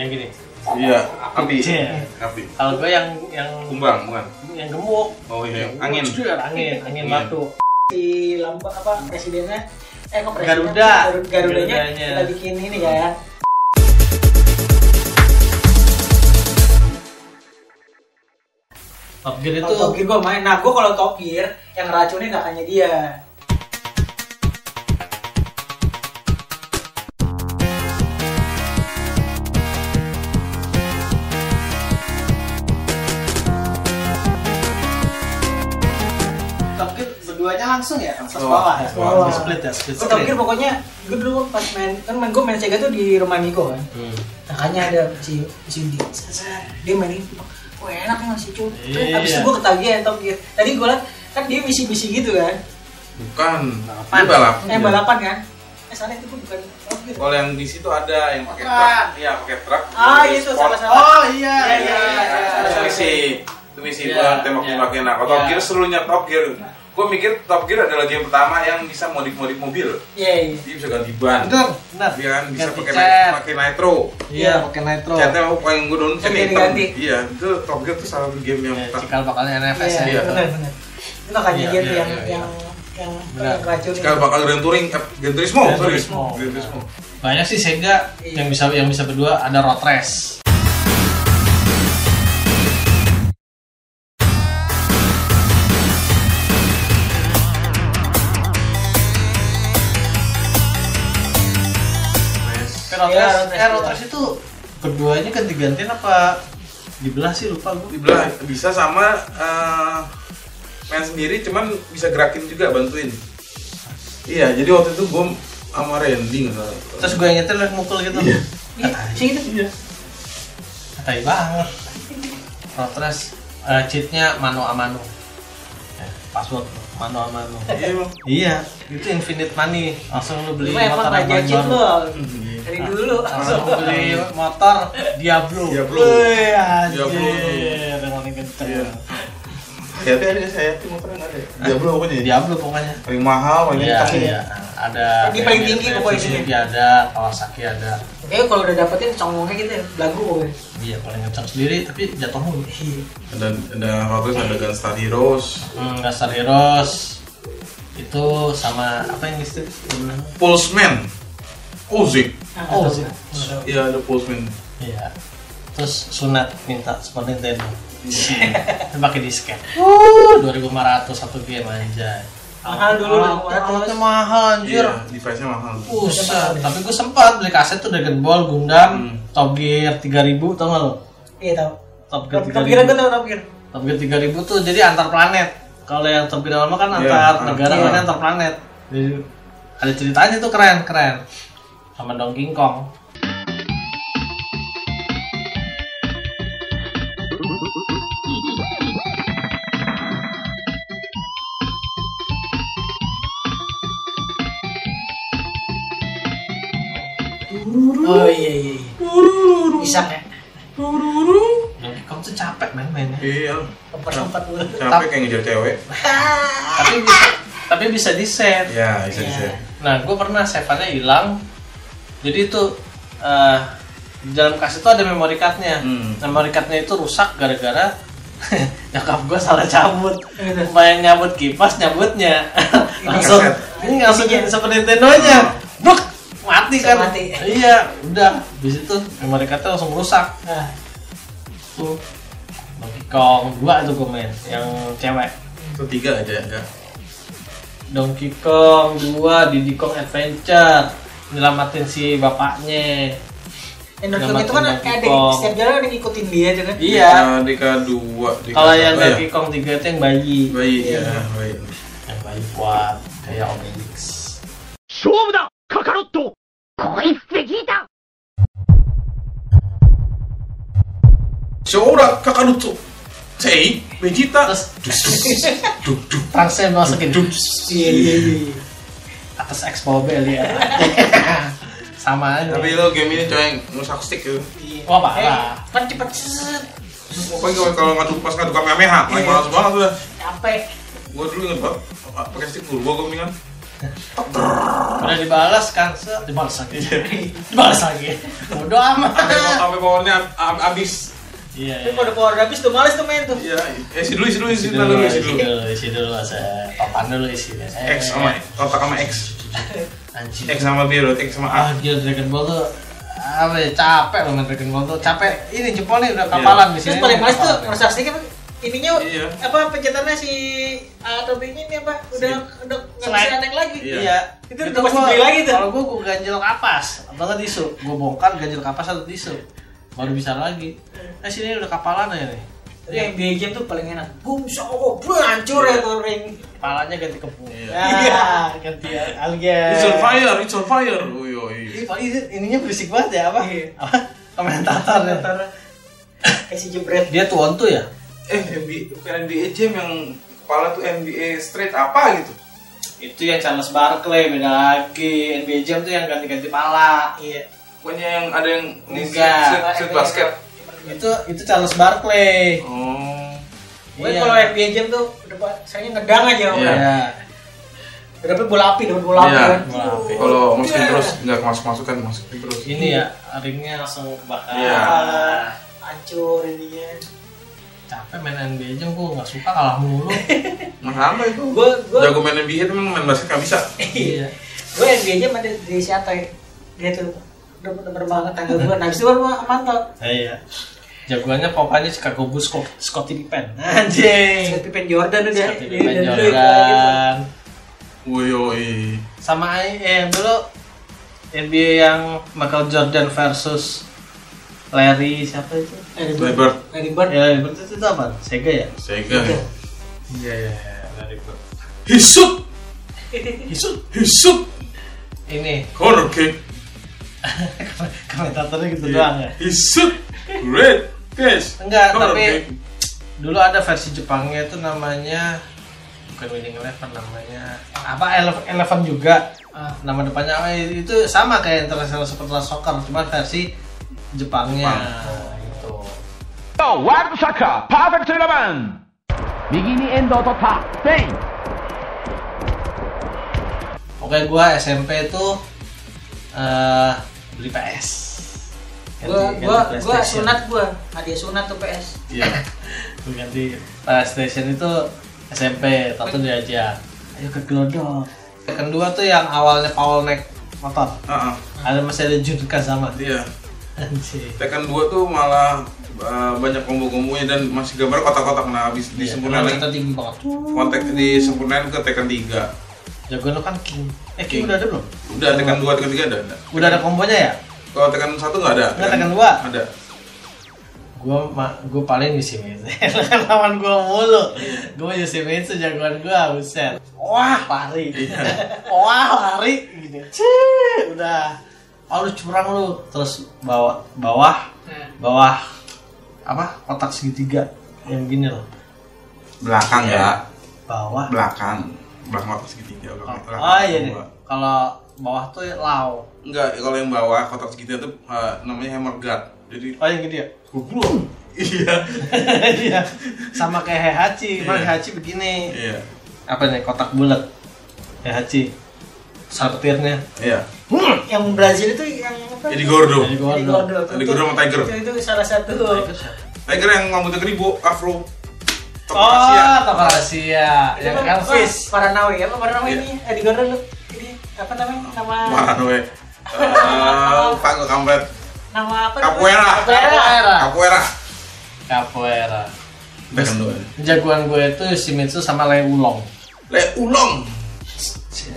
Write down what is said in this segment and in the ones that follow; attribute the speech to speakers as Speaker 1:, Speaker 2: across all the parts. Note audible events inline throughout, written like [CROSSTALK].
Speaker 1: yang gini
Speaker 2: Iya, api.
Speaker 1: Cie.
Speaker 2: Api.
Speaker 1: kalau gue yang yang
Speaker 2: Kumbang, bukan.
Speaker 1: yang gemuk
Speaker 2: Oh iya, angin.
Speaker 1: Jujur, angin angin
Speaker 2: Iya.
Speaker 1: batu
Speaker 3: si lambang apa presidennya eh kok presiden
Speaker 1: Garuda.
Speaker 3: Garu- garudanya
Speaker 1: Garudanya.
Speaker 3: kita bikin ini ya
Speaker 1: Top Gear
Speaker 3: itu
Speaker 1: itu
Speaker 3: tokir gue main nah gue kalau tokir yang racunnya nggak hanya dia
Speaker 1: Top Gear berduanya langsung ya kan
Speaker 2: Sekolah.
Speaker 3: Sekolah.
Speaker 1: Di split ya split
Speaker 3: gue
Speaker 1: screen
Speaker 3: tokir pokoknya gue dulu pas main kan main gue main Sega tuh di rumah Niko kan
Speaker 1: Hmm.
Speaker 3: makanya ada si si dia Sasa, dia main itu wah enak nih masih cuy
Speaker 1: Iya.
Speaker 3: abis itu gue ketagihan tokir tadi gue liat kan dia misi-misi gitu kan
Speaker 2: Bukan.
Speaker 1: Balapan.
Speaker 2: Ini balap.
Speaker 3: eh balapan kan eh soalnya itu gue bukan tokir
Speaker 2: Kalau yang di situ ada yang pakai
Speaker 1: Bukan.
Speaker 2: truk. Iya, pakai truk.
Speaker 3: ah itu
Speaker 2: Sport.
Speaker 3: sama-sama
Speaker 1: Oh iya iya
Speaker 3: Iya, iya,
Speaker 1: iya.
Speaker 3: iya.
Speaker 2: Itu misi itu misi
Speaker 1: Iya,
Speaker 2: bukan tembak tembakin
Speaker 1: iya.
Speaker 2: nah kalau Top
Speaker 1: Iya.
Speaker 2: Gear serunya Top Gear gue mikir Top Gear adalah game pertama yang bisa modif modif mobil
Speaker 3: iya iya
Speaker 2: dia bisa ganti ban
Speaker 4: Bener, bener.
Speaker 2: dia kan bisa
Speaker 4: Ganti
Speaker 2: pakai
Speaker 4: cat.
Speaker 2: ni- pakai nitro
Speaker 4: Iya, pakai nitro.
Speaker 2: catnya aku paling gue download
Speaker 3: Ganti,
Speaker 2: sini
Speaker 3: ganti.
Speaker 2: iya itu Top Gear tuh salah satu game yang
Speaker 1: Ya,
Speaker 2: pertama
Speaker 4: Cikal bakalnya NFS
Speaker 3: Iya,
Speaker 4: ya.
Speaker 2: Iya.
Speaker 3: benar benar. Itu makanya
Speaker 1: Iya,
Speaker 3: dia
Speaker 2: iya,
Speaker 3: tuh yang
Speaker 2: iya,
Speaker 3: yang yang
Speaker 4: Benar.
Speaker 3: yang racun.
Speaker 2: Cikal bakal Grand Touring, eh, Grand Turismo,
Speaker 1: Gran
Speaker 2: sorry.
Speaker 1: Turismo.
Speaker 2: Gran Turismo.
Speaker 4: Banyak sih Sega
Speaker 3: Iya.
Speaker 4: yang bisa yang bisa berdua ada road race. Eh, Road
Speaker 3: Iya,
Speaker 4: race,
Speaker 3: road race
Speaker 4: eh, road
Speaker 3: juga.
Speaker 4: race itu berduanya ganti-gantian apa dibelah sih lupa gue.
Speaker 2: Dibelah bisa sama eh, main sendiri, cuman bisa gerakin juga bantuin. Iya, jadi waktu itu gue sama Randy nggak salah.
Speaker 4: Terus gue nyetir liat mukul gitu.
Speaker 2: Iya.
Speaker 3: Iya, sih itu.
Speaker 4: Tai banget. Road race eh, cheatnya mano a mano. Eh, password mano a mano.
Speaker 2: Iya, Bang.
Speaker 4: Iya, itu infinite money. Langsung lu beli
Speaker 3: Lu emang
Speaker 4: motor
Speaker 3: raja
Speaker 4: abang
Speaker 3: cheat
Speaker 4: baru.
Speaker 3: lo. Dari dulu.
Speaker 4: Langsung lu beli motor Diablo.
Speaker 2: Diablo.
Speaker 4: Wih, anjir.
Speaker 2: Diablo.
Speaker 4: Yang paling kenceng.
Speaker 2: Iya. Hati-hati ada saya tim motor nggak ada. Dia belum pokoknya. ya?
Speaker 4: Diablo pokoknya.
Speaker 2: Paling mahal, paling
Speaker 4: Iya,
Speaker 2: kencang.
Speaker 4: iya. Ada.
Speaker 3: Yang paling tinggi pokoknya sini.
Speaker 4: Suzuki ada, Kawasaki ada.
Speaker 3: [LAUGHS] Eh kalau udah dapetin congongnya gitu ya, lagu gue.
Speaker 4: Dia Iya, paling kencang sendiri, tapi jatuh mulu.
Speaker 2: Ada ada waktu itu ada Gunstar Heroes,
Speaker 4: Hmm, Dasar Heroes itu sama apa yang istri?
Speaker 2: Pulseman, Ozik.
Speaker 3: Nah,
Speaker 4: Oh,
Speaker 3: nggak tahu. Nggak tahu.
Speaker 2: Iya ada Pulseman.
Speaker 4: Iya. Terus sunat minta Super Nintendo. Dia [LAUGHS] pakai disket. 2500 satu game aja.
Speaker 3: Mahal dulu
Speaker 4: Ah,
Speaker 3: dong,
Speaker 4: alatnya mahal anjir. Iya.
Speaker 2: Iya, device-nya mahal.
Speaker 4: Buset, tapi gue sempat beli kaset tuh Dragon Ball, Gundam,
Speaker 2: Hmm.
Speaker 4: Top Gear 3000 tau gak lo?
Speaker 3: Iya tahu.
Speaker 4: Top Gear
Speaker 3: Tapi kira
Speaker 4: 3000.
Speaker 3: gue tau topir.
Speaker 4: Top Gear 3000 tuh jadi antar planet. Kalau yang Top Gear lama kan
Speaker 2: Iya,
Speaker 4: antar
Speaker 2: antar-
Speaker 4: negara,
Speaker 2: iya.
Speaker 4: ini antar planet. Iya. Jadi ada ceritanya tuh keren-keren. Sama Donkey Kong.
Speaker 3: Oh iya iya. iya. Bisa ya.
Speaker 4: Donkey Kong tuh capek main-mainnya.
Speaker 2: Iya,
Speaker 3: Empat empat puluh.
Speaker 2: capek kayak ngejar cewek.
Speaker 4: tapi bisa tapi bisa di save
Speaker 2: Ya, bisa bisa.
Speaker 4: nah gue pernah save-annya hilang jadi itu eh, di dalam kaset itu ada memory cardnya
Speaker 2: Hmm.
Speaker 4: memory cardnya itu rusak gara-gara [LAUGHS] nyokap gue salah cabut
Speaker 3: Gitu.
Speaker 4: main nyabut kipas nyabutnya langsung
Speaker 2: kaset.
Speaker 4: ini langsung jadi Super Nintendo nya Bruk! mati kan
Speaker 3: Mati.
Speaker 4: iya udah di situ memory cardnya langsung rusak
Speaker 3: Nah,
Speaker 4: tuh Donkey Kong dua itu gue main yang cewek
Speaker 2: Itu tiga aja, enggak.
Speaker 4: Donkey Kong 2, Diddy Kong Adventure nyelamatin si bapaknya
Speaker 3: Endorfin itu kan
Speaker 4: Nyelamatin
Speaker 3: kayak ada
Speaker 4: Donkey Kong.
Speaker 3: setiap jalan ada yang ngikutin dia tuh kan.
Speaker 4: iya
Speaker 2: Dika dua. Dika
Speaker 4: kalau
Speaker 2: satu,
Speaker 4: yang
Speaker 2: ya.
Speaker 4: Donkey Kong 3 itu yang bayi
Speaker 2: Bayi, ya, bayi.
Speaker 4: yang bayi kuat kayak Om Elix
Speaker 5: 勝負だカカロットこいつで聞いた
Speaker 2: Shouda Kakaruto, Sei, Vegeta.
Speaker 4: terus transnya masukin
Speaker 3: Iya iya iya. iya.
Speaker 4: atas expo bel ya [LAUGHS] sama aja
Speaker 2: Tapi lo game ini coy ngusak stick ya.
Speaker 4: wah
Speaker 3: Eh,
Speaker 4: parah
Speaker 3: kan cepet set,
Speaker 2: Pokoknya kalau- kalau ngaduk pas ngaduk Iya. kamehameha, paling malas banget udah.
Speaker 3: capek.
Speaker 2: Gua dulu inget banget, pakai stick turbo gua mendingan.
Speaker 4: udah dibalas kan set dibalas lagi dibalas lagi bodoh amat
Speaker 2: Sampai sampai powernya ab- abis.
Speaker 4: iya
Speaker 3: Tapi kalau udah power habis tuh males tuh main tuh.
Speaker 2: Iya, eh si dulu, isi dulu, isi
Speaker 4: isi
Speaker 2: dulu,
Speaker 4: dulu
Speaker 2: isi
Speaker 4: isi
Speaker 2: dulu.
Speaker 4: dulu isi dulu saya papan dulu isi Eh,
Speaker 2: X sama otak sama X,
Speaker 4: anjing
Speaker 2: X sama B, berarti X sama A.
Speaker 4: ah gila Dragon Ball tuh apa ya, capek loh main Dragon Ball tuh capek ini jempolnya udah kapalan di sini
Speaker 3: Terus paling males tuh
Speaker 4: Kapalan.
Speaker 3: ngerusak sedikit ininya
Speaker 2: Iya.
Speaker 3: apa pencetannya si A atau B-nya ini apa udah udah nggak bisa
Speaker 4: Slide.
Speaker 3: naik lagi.
Speaker 2: Iya.
Speaker 3: Itu udah pasti
Speaker 4: gua-
Speaker 3: beli lagi tuh.
Speaker 4: Kalau gua gua ganjel kapas atau nggak tisu, gua bongkar ganjel kapas atau tisu. Baru bisa lagi. Eh sini udah kapalan ya nih.
Speaker 3: Iya. Tapi yang di game tuh paling enak. Boom, shock, boom, hancur ya tuh ring.
Speaker 4: Kepalanya ganti kepung.
Speaker 2: Iya.
Speaker 3: Iya.
Speaker 4: Ah, ganti
Speaker 2: It's on
Speaker 4: algen.
Speaker 2: fire, it's on fire. Oh, iya, Uy, uy.
Speaker 4: Ini Pak, ini- ininya berisik banget ya apa?
Speaker 3: Iya.
Speaker 4: Apa? Komentator.
Speaker 3: Antara kayak si
Speaker 2: [LAUGHS]
Speaker 3: jebret.
Speaker 4: Dia tuh on tuh ya?
Speaker 2: Eh, NBA, bukan NBA Jam yang kepala tuh NBA straight apa gitu.
Speaker 4: Itu yang Charles Barkley beda lagi. NBA Jam tuh yang ganti-ganti pala.
Speaker 3: Iya.
Speaker 2: Bukannya yang ada yang di
Speaker 4: Enggak.
Speaker 2: street, street basket.
Speaker 4: Itu itu Charles Barkley.
Speaker 2: Oh.
Speaker 3: Gue
Speaker 4: Iya.
Speaker 3: kalau NBA jam tuh udah sayangnya ngedang aja orang.
Speaker 2: Iya.
Speaker 3: Udah dapet bola api, dapet bola api.
Speaker 2: Iya.
Speaker 3: kan.
Speaker 4: Bola api.
Speaker 2: Kalau masukin terus nggak masuk masukan masukin terus.
Speaker 4: Ini ya ringnya langsung kebakar.
Speaker 2: Iya.
Speaker 3: Ah, Hancur ininya.
Speaker 4: capek main NBA aja gue nggak suka kalah mulu
Speaker 2: Nah, apa itu?
Speaker 3: Gua- gua-
Speaker 2: Jago main NBA tapi main basket nggak bisa.
Speaker 4: [LAUGHS] iya
Speaker 3: Gue NBA jam ada di si Atoy. Dia tuh udah bener banget tanggal gue. Nah, habis itu baru gue mantap.
Speaker 4: iya jagoannya pokoknya Chicago Bulls Scott, Scottie Pippen anjing
Speaker 3: Scott Pippen Jordan udah.
Speaker 4: Eh. Scottie
Speaker 3: Dia-
Speaker 4: Pippen
Speaker 3: dia- dia-
Speaker 4: Jordan
Speaker 2: Uy, uy.
Speaker 4: gitu. sama I- eh, yang dulu NBA yang Michael Jordan versus Larry siapa itu
Speaker 3: Larry Bird.
Speaker 2: Lebar.
Speaker 3: Larry Bird.
Speaker 4: ya Larry Bird itu, itu apa Sega ya
Speaker 2: Sega. ya?
Speaker 4: iya iya Larry Bird [LAUGHS]
Speaker 2: Hisut, hisut.
Speaker 4: ini [LAUGHS]
Speaker 2: Corner kick.
Speaker 4: komentatornya gitu doang ya
Speaker 2: Hisut. Great catch.
Speaker 4: Enggak,
Speaker 2: Corner
Speaker 4: tapi-
Speaker 2: kick.
Speaker 4: dulu ada versi Jepangnya itu namanya bukan Winning Eleven namanya apa Ele- Eleven juga Ah, nama depannya apa, itu sama kayak International Superstar Soccer cuma versi Jepangnya gitu
Speaker 6: ワールドサッカーパーフェクトイレブン右にエンドを取ったスペイン
Speaker 4: oke gua SMP itu eh beli PS
Speaker 3: Gue
Speaker 4: Ganti-
Speaker 3: gue
Speaker 4: ganti
Speaker 3: gue
Speaker 4: PlayStation.
Speaker 3: sunat gue. Hadiah sunat tuh PS.
Speaker 2: Iya.
Speaker 4: Gua ganti PlayStation itu SMP tato diajak ayo ke Glodok yang kedua tuh yang awalnya Paul naik motor
Speaker 2: Ah, ah.
Speaker 4: Hmm. ada masih ada Junka sama
Speaker 2: Iya.
Speaker 4: Anjir.
Speaker 2: Tekken 2 tuh malah uh, banyak kombo-kombonya dan masih gambar kotak-kotak nah habis disempurnain
Speaker 4: Iya, Kita
Speaker 2: lagi
Speaker 4: tinggi banget.
Speaker 2: kontak disempurnain ke Tekken 3
Speaker 4: Jagoan lo kan King. Eh
Speaker 2: King.
Speaker 4: King, udah ada belum?
Speaker 2: udah Tekken
Speaker 4: Oh.
Speaker 2: 2, Tekken 3 ada, ada.
Speaker 4: Udah ada kombonya ya?
Speaker 2: kalau Tekken 1 nggak ada
Speaker 4: Nggak, Tekken 2.
Speaker 2: ada
Speaker 4: Gua ma- gua paling Yoshimitsu. Kan [LAUGHS] lawan gua mulu. Gua Yoshimitsu jagoan gua, buset. Wah, lari. Wah, lari gitu. Cih, udah. Oh, lu curang lu. Terus bawah bawah bawah apa? Kotak segitiga yang gini loh.
Speaker 2: belakang ya
Speaker 4: Bawah.
Speaker 2: belakang belakang kotak segitiga belakang belakang
Speaker 4: Oh iya nih.
Speaker 2: kedua.
Speaker 4: Kalau bawah tuh lau.
Speaker 2: nggak kalau yang bawah kotak segitiga tuh uh, namanya hammer guard jadi
Speaker 4: Oh yang gede ya?
Speaker 2: goblok iya
Speaker 4: [LAUGHS] Iya. Sama kayak Heihachi. Cuman
Speaker 2: Iya.
Speaker 4: Heihachi begini.
Speaker 2: iya
Speaker 4: apa nih kotak bulat Ya, Heihachi salpetirnya
Speaker 2: iya
Speaker 3: Yang Brazil itu yang apa?
Speaker 2: jadi gordo
Speaker 4: jadi
Speaker 3: Jadi
Speaker 4: gordo
Speaker 3: Gordo.
Speaker 2: Jadi Gordo sama Tiger.
Speaker 3: Itu, itu salah satu.
Speaker 2: Tiger yang rambutnya keribu
Speaker 4: oh
Speaker 2: afro
Speaker 4: toko Asia yang
Speaker 3: Itu apa?
Speaker 4: Elvis
Speaker 3: Paranawi apa Paranawi
Speaker 2: Iya.
Speaker 3: ini? Adi Gordo lu. Ini apa namanya? Nama
Speaker 2: Wah, gue Eh, Pak gue kampret
Speaker 3: nama apa?
Speaker 2: Capoeira.
Speaker 3: namanya? Capoeira.
Speaker 2: Capoeira
Speaker 4: capoeira
Speaker 2: Tekken 2
Speaker 4: jagoan gue itu Shimizu sama Lei Ulong
Speaker 2: Le ulong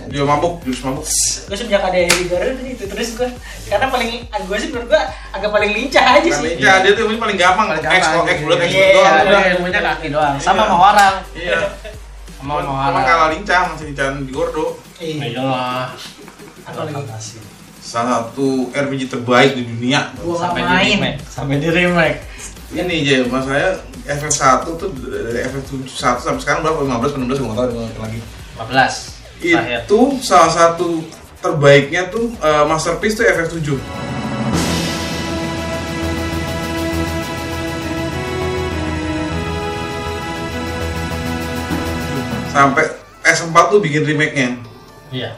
Speaker 2: dia mabuk jurus mabuk
Speaker 3: Gue sejak ada Adi Gordo tuh itu terus gue karena paling gue sih menurut gue agak paling lincah aja
Speaker 2: Karena
Speaker 3: sih.
Speaker 2: iya, dia tuh yang paling gampang
Speaker 4: Paling
Speaker 2: X
Speaker 4: gampang.
Speaker 2: X bulat X
Speaker 3: Iya,
Speaker 2: bulat doang
Speaker 4: Iya,
Speaker 2: udah.
Speaker 4: dia punya kaki doang sama
Speaker 2: Iya.
Speaker 4: sama orang
Speaker 2: iya
Speaker 4: sama
Speaker 2: Cuman
Speaker 4: sama
Speaker 2: cuman
Speaker 4: orang
Speaker 2: kalah lincah masih lincahan di Gordo
Speaker 3: Iya.
Speaker 4: iya lah
Speaker 3: Apalagi?
Speaker 4: fantasi
Speaker 2: salah satu RPG terbaik di dunia
Speaker 3: Gue nggak
Speaker 4: sampai di
Speaker 3: main.
Speaker 4: remake sampai di remake
Speaker 2: ini aja mas saya FF1 tuh dari FF1 sampai sekarang berapa 15 16 gue nggak tahu nggak ngerti lagi
Speaker 4: 15 terakhir
Speaker 2: itu salah satu terbaiknya tuh eh, masterpiece tuh FF7 sampai S4 tuh bikin remake-nya
Speaker 4: Iya.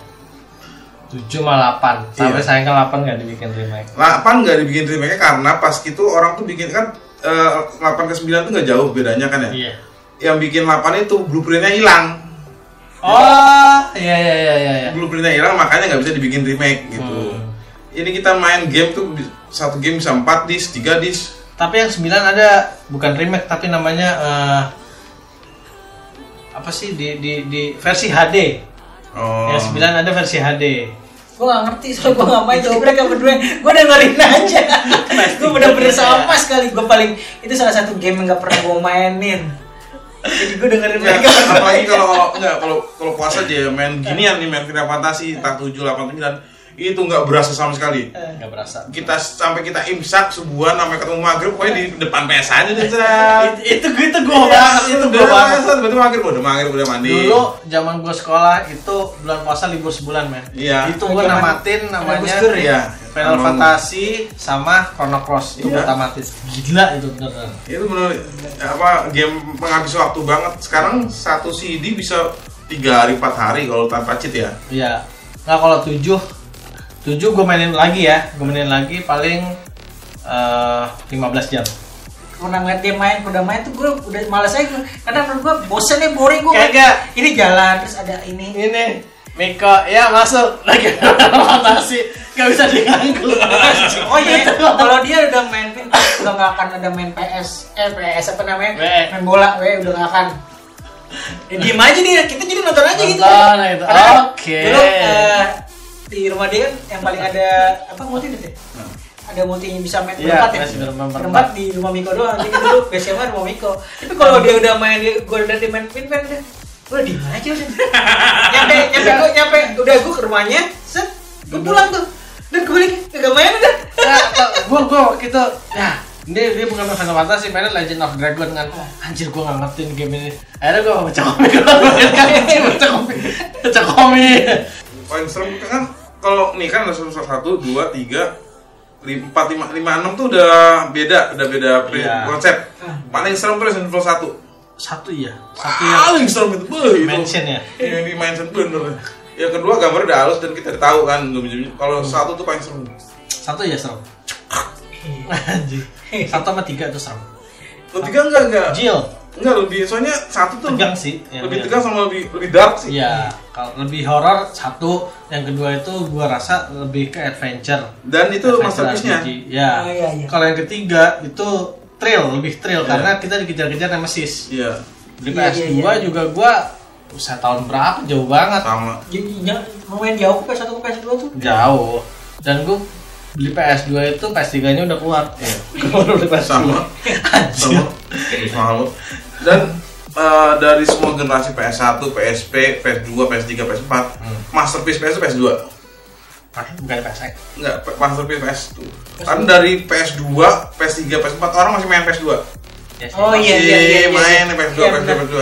Speaker 4: 7 malah 8. Sampai
Speaker 2: Iya.
Speaker 4: sayang ke 8 nggak dibikin remake.
Speaker 2: Lapan Nah, nggak dibikin remake karena pas itu orang tuh bikin kan eh, 8 ke 9 tuh nggak jauh bedanya kan ya.
Speaker 4: Iya.
Speaker 2: Yang bikin 8 itu blueprintnya hilang.
Speaker 4: Oh, iya iya iya iya. iya.
Speaker 2: Blueprintnya hilang makanya nggak bisa dibikin remake gitu.
Speaker 4: Hmm.
Speaker 2: Ini kita main game tuh bi- satu game bisa 4 disk, 3 disk.
Speaker 4: Tapi yang 9 ada bukan remake tapi namanya eh, apa sih di di di versi HD.
Speaker 2: Oh.
Speaker 4: Yang
Speaker 2: [LAUGHS]
Speaker 4: 9 ada versi HD.
Speaker 3: Gue gak ngerti soal gue gak main Jadi mereka berdua Gue [LAUGHS] dengerin aja Gue bener-bener sampah sekali Gue paling Itu salah satu game yang gak pernah gue mainin Jadi gue dengerin
Speaker 2: Ya,
Speaker 3: mereka berdua.
Speaker 2: apalagi kalau nggak kalau kalau puasa aja ya, main ginian nih main Final Fantasy tak 7 8 9 itu nggak berasa sama sekali.
Speaker 4: Enggak berasa.
Speaker 2: Kita sampai kita imsak sebulan sampai ketemu maghrib pokoknya di depan PS aja Iya, deh.
Speaker 4: Itu itu itu [LAUGHS] gua banget, itu gua banget.
Speaker 2: Betul maghrib udah maghrib udah mandi.
Speaker 4: Dulu zaman gua sekolah itu bulan puasa libur sebulan, men.
Speaker 2: Iya.
Speaker 4: Itu gua
Speaker 3: Zaman-
Speaker 4: namatin
Speaker 3: Gus
Speaker 4: namanya
Speaker 3: Dur
Speaker 2: ya?
Speaker 4: Final
Speaker 2: Sama-
Speaker 4: Fantasy sama Chrono Cross itu gua
Speaker 2: Iya.
Speaker 4: tamatin. Gila itu beneran.
Speaker 2: itu benar apa game penghabis waktu banget sekarang satu CD bisa tiga hari empat hari kalau tanpa cheat ya
Speaker 4: Iya. Nah kalau tujuh, tujuh gue mainin lagi ya, gue mainin lagi paling eh 15 jam.
Speaker 3: Pernah ngeliat dia main Udah main tuh gue Udah males aja gua. Karena menurut gue Bosen ya boring gue
Speaker 4: Kagak.
Speaker 3: Ini jalan Terus ada [LAUGHS] ini
Speaker 4: Ini Miko, ya masuk [LAUGHS] lagi rotasi, gak bisa diganggu.
Speaker 3: Oh iya, kalau dia udah main pin, udah gak akan ada main PS, eh PS apa namanya,
Speaker 4: WE.
Speaker 3: main bola, we udah gak akan. Ya, diem aja dia, kita jadi nonton aja gitu.
Speaker 4: Nonton gitu,
Speaker 3: Karena
Speaker 4: oke.
Speaker 3: Dulu eh, di rumah dia kan yang paling ada apa multi itu ya? Ada multinya bisa main
Speaker 4: Iya,
Speaker 3: berempat ya.
Speaker 4: masih berempat.
Speaker 3: Berempat di rumah Miko doang. Jadi dulu [LAUGHS] biasanya main rumah Miko. Tapi kalau dia udah main, gue udah dia main pin kan udah, gue diem aja udah. [LAUGHS] nyampe, nyampe gue, nyampe udah gue ke rumahnya, set, gue pulang tuh. Dan gue balik, kagak main udah.
Speaker 4: Gue gue waktu itu, nah dia dia bukan main Final Fantasy, mainnya Legend of Dragon kan. Anjir gue gak ngertiin game ini. Akhirnya gue baca komik, [LAUGHS] gue baca komik, baca komik.
Speaker 2: paling serem kan kalau nih kan ada satu satu dua tiga lim- empat lima lima enam tuh udah beda udah beda pri-
Speaker 4: Iya.
Speaker 2: konsep paling serem tuh Resident Evil satu
Speaker 4: Satu
Speaker 3: iya.
Speaker 4: ya, satu yang
Speaker 2: paling serem itu beuh, itu.
Speaker 4: mention ya.
Speaker 2: yang di mention bener yang kedua gambar udah halus dan kita udah tahu kan gambar-gambarnya. kalau
Speaker 4: Hmm.
Speaker 2: satu tuh paling serem
Speaker 4: Satu ya serem.
Speaker 3: Iya.
Speaker 4: [LAUGHS] Anjir. Satu sama tiga tuh serem.
Speaker 2: ketiga enggak enggak
Speaker 4: Jill
Speaker 2: enggak lebih soalnya satu tuh
Speaker 4: tegang sih. ya,
Speaker 2: lebih
Speaker 4: ya.
Speaker 2: tegang sama lebih lebih dark sih
Speaker 4: Iya, kalau lebih horor satu, yang kedua itu gua rasa lebih ke adventure.
Speaker 2: dan itu
Speaker 4: Adventure
Speaker 2: masterpiece-nya
Speaker 4: RPG. Ya.
Speaker 3: Oh, iya, iya.
Speaker 4: Kalau yang ketiga itu thrill, lebih thrill karena kita dikejar-kejar Nemesis.
Speaker 2: iya
Speaker 4: Di
Speaker 3: Iya,
Speaker 4: PS2
Speaker 3: iya, iya.
Speaker 4: juga gua usah tahun berapa jauh banget.
Speaker 3: [LAUGHS]
Speaker 2: sama
Speaker 3: Jadi jangan mau main jauh ke PS1 ke PS2 tuh.
Speaker 4: Jauh. Dan gua beli PS2 itu PS3-nya udah [LAUGHS] keluar.
Speaker 2: Iya.
Speaker 4: Gua baru beli PS2.
Speaker 2: sama
Speaker 4: Anjir.
Speaker 2: sama
Speaker 3: Iya. gitu.
Speaker 2: mahal dan eh, dari semua generasi PS1, PSP, PS2, PS3, PS4
Speaker 3: Hmm.
Speaker 2: masterpiece PS PS2
Speaker 4: Ah, Bukan PS3.
Speaker 2: enggak pe- masterpiece PS1 kan dari PS2, PS3, PS4 orang masih main PS2
Speaker 4: Ya, sih.
Speaker 3: Oh, iya,
Speaker 2: Masih
Speaker 3: iya, iya, iya.
Speaker 2: main PS2,
Speaker 3: Iya,
Speaker 2: PS2,
Speaker 3: benar.
Speaker 2: PS2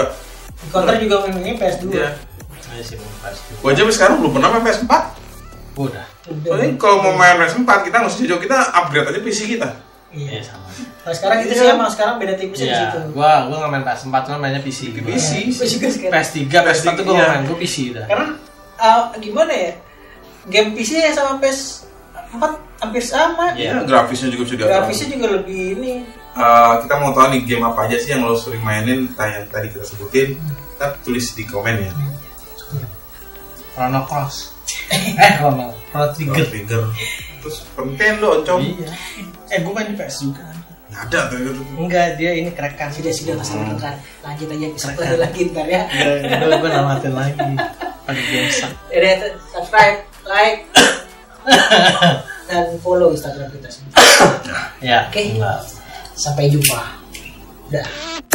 Speaker 3: Di Counter juga mainnya PS2.
Speaker 2: iya
Speaker 4: Iya sih, bukan PS2.
Speaker 2: gua aja sampai sekarang belum pernah main PS4
Speaker 4: Gua udah.
Speaker 3: Iya.
Speaker 2: soalnya kalau mau main PS4 kita harus jauh kita upgrade aja PC kita
Speaker 4: Iya
Speaker 3: Iya.
Speaker 4: sama.
Speaker 3: Kalau sekarang itu sih emang sekarang beda tipisnya di
Speaker 4: Iya,
Speaker 3: situ.
Speaker 4: gua gua nggak main PS4, cuma mainnya gitu. PC. Gua.
Speaker 2: PC
Speaker 3: Gue juga sekarang.
Speaker 4: PS3, PS4 tuh gua nggak main, gua PC dah.
Speaker 3: Karena ah, gimana ya? Game PC ya sama PS4 hampir sama.
Speaker 4: Iya.
Speaker 2: Ya, grafisnya juga bisa diatur.
Speaker 3: Grafisnya juga lebih ini.
Speaker 2: Eh, kita mau tahu nih game apa aja sih yang lo sering mainin entah yang tadi kita sebutin kita tulis di komen ya
Speaker 4: Chrono Cross. [LAUGHS] eh, Chrono, Chrono
Speaker 2: Kalau
Speaker 4: Trigger.
Speaker 2: trigger terus Nintendo com
Speaker 4: Iya. Eh, gua main di PS juga.
Speaker 2: nggak ada trigger
Speaker 4: Enggak, dia ini kerekan.
Speaker 3: Sudah sudah masalah
Speaker 4: Hmm.
Speaker 3: kita lanjut aja kesempatan lagi ntar ya.
Speaker 4: Gue gue namatin lagi. Pakai GameStop.
Speaker 3: Jadi Ya subscribe, like,
Speaker 4: [LAUGHS]
Speaker 3: dan follow Instagram kita semua.
Speaker 4: Ya.
Speaker 3: Oke.
Speaker 4: enggak.
Speaker 3: Sampai jumpa. Dah.